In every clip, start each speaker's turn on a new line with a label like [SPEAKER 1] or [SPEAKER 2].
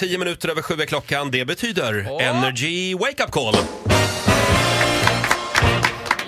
[SPEAKER 1] Tio minuter över sju är klockan. Det betyder Energy Wake Up Call.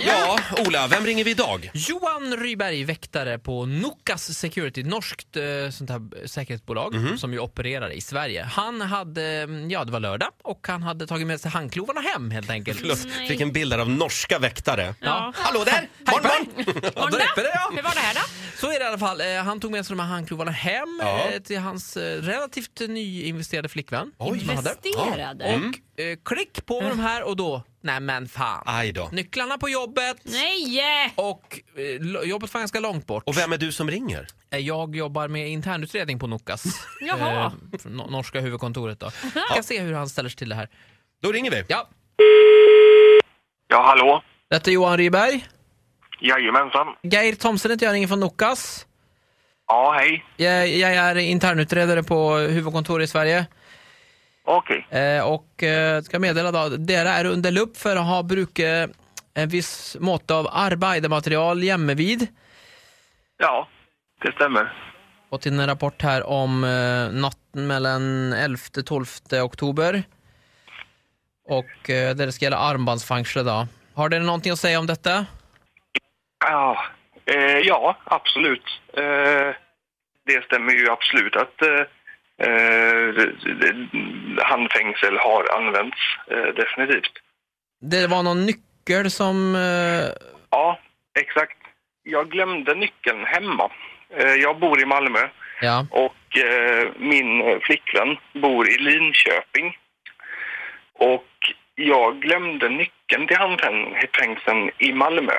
[SPEAKER 1] Ja, Ola, vem ringer vi idag?
[SPEAKER 2] Johan Ryberg, väktare på Nokas Security, norskt eh, sånt här säkerhetsbolag
[SPEAKER 1] Mhm.
[SPEAKER 2] som ju opererar i Sverige. Han hade, mm, ja det var lördag och han hade tagit med sig handklovarna hem helt enkelt.
[SPEAKER 1] Förlåt, fick en bild där av norska väktare.
[SPEAKER 3] Ja.
[SPEAKER 1] Hallå där!
[SPEAKER 2] Hej,
[SPEAKER 1] Morgon, morgon!
[SPEAKER 2] Ja, då räcker det ja!
[SPEAKER 3] Hur var det här då?
[SPEAKER 2] Så är det i alla fall. Eh, Han tog med sig de här handklovarna hem
[SPEAKER 1] Ja.
[SPEAKER 2] eh, till hans eh, relativt nyinvesterade flickvän.
[SPEAKER 1] Oj. Mm.
[SPEAKER 2] som han hade.
[SPEAKER 3] Investerade?
[SPEAKER 2] Och eh, klick på med de här och då, nej men fan.
[SPEAKER 1] Aj då.
[SPEAKER 2] Nycklarna på jobbet
[SPEAKER 3] Nej!
[SPEAKER 2] och eh, lo- jobbet var ganska långt bort.
[SPEAKER 1] Och vem är du som ringer?
[SPEAKER 2] Eh, Jag jobbar med internutredning på Nokas.
[SPEAKER 3] Jaha.
[SPEAKER 2] Eh, från no- norska huvudkontoret då. Vi kan se hur han ställer sig till det här.
[SPEAKER 1] Då ringer vi.
[SPEAKER 2] Ja,
[SPEAKER 4] Ja, hallå?
[SPEAKER 2] detta är Johan Ryberg.
[SPEAKER 4] Jajamensan.
[SPEAKER 2] Geir Thomsen heter jag, ringer från Nokas.
[SPEAKER 4] Ja, hej.
[SPEAKER 2] Jag, jag är internutredare på huvudkontoret i Sverige.
[SPEAKER 4] Okej.
[SPEAKER 2] Eh, och eh, ska meddela då, att dere är under lupp för att ha brukat en viss mått av arbetsmaterial hemmavid.
[SPEAKER 4] Ja, det stämmer.
[SPEAKER 2] Fått in en rapport här om eh, natten mellan 11-12 oktober. Och eh, där det ska gälla armbandsfängsel då. Har det någonting att säga om detta?
[SPEAKER 4] Ja, eh, ja absolut. Eh, det stämmer ju absolut att eh, eh, handfängsel har använts, eh, definitivt.
[SPEAKER 2] Det var någon nyckel som... Eh,
[SPEAKER 4] Ja, exakt. Jag glömde nyckeln hemma. Eh, jag bor i Malmö.
[SPEAKER 2] ja,
[SPEAKER 4] och eh, min eh, flickvän bor i Linköping. Och jag glömde nyckeln till handfängseln i Malmö.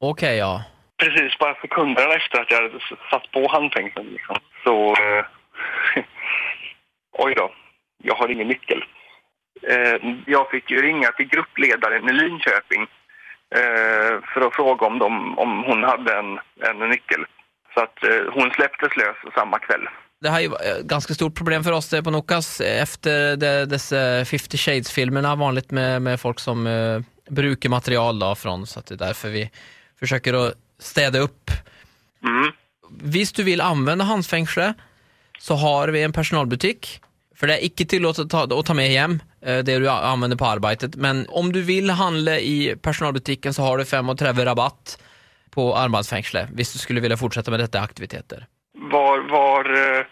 [SPEAKER 2] okej ja.
[SPEAKER 4] Precis bara sekunderna efter att jag hade s- satt på handfängseln. Liksom. Så... Eh, oj då, jag har ingen nyckel. Eh, jag fick ju ringa till gruppledaren i Linköping eh, för att fråga om, de, om hon hade en, en nyckel. Så att eh, hon släpptes lös samma kväll.
[SPEAKER 2] Det här är ju ett ganska stort problem för oss där på Nokas eh, efter de- dessa 50 Shades-filmerna. Vanligt med, med folk som eh, brukar material då från. Så att det är därför vi försöker att städa upp
[SPEAKER 4] Mm.
[SPEAKER 2] Visst du vill använda handfängsle så har vi en personalbutik. För det är icke tillåtet att ta, att ta med hem eh, det du a- använder på arbetet. Men om du vill handla i personalbutiken så har du 35 rabatt på armbandsfängsle. Visst du skulle vilja fortsätta med detta aktiviteter.
[SPEAKER 4] Var, var eh,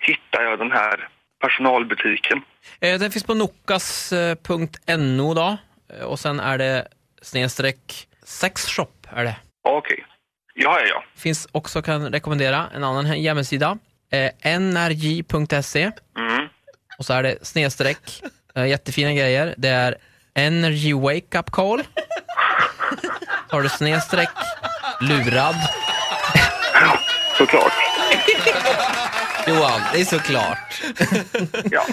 [SPEAKER 4] hittar jag den här personalbutiken?
[SPEAKER 2] Eh, Den finns på nokas.no då. Eh, Och sen är det snedstreck sexshop är det.
[SPEAKER 4] Ja, Okej. Ja, ja, ja.
[SPEAKER 2] Finns också, kan rekommendera, en annan he- hemsida. Eh, nrj.se.
[SPEAKER 4] Mm.
[SPEAKER 2] E. Och så är det snedstreck, eh, jättefina grejer. Det är Energy Wake Up Call. Har du snedstreck, lurad.
[SPEAKER 4] Såklart.
[SPEAKER 2] Johan, det är såklart.
[SPEAKER 4] Ja.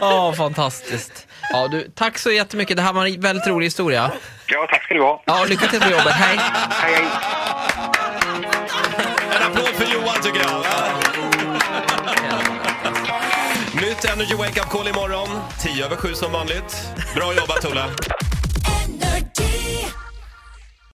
[SPEAKER 2] Åh, fantastiskt. Ja, du, tack så jättemycket. Det här var en väldigt rolig historia.
[SPEAKER 4] ja, tack ska du ha.
[SPEAKER 2] Ja, lycka till på jobbet. Hej!
[SPEAKER 4] Hej, hej.
[SPEAKER 1] En applåd för Johan tycker jag. Nytt Energy Wake Up Call imorgon. Tio över sju som vanligt. Bra jobbat Ola.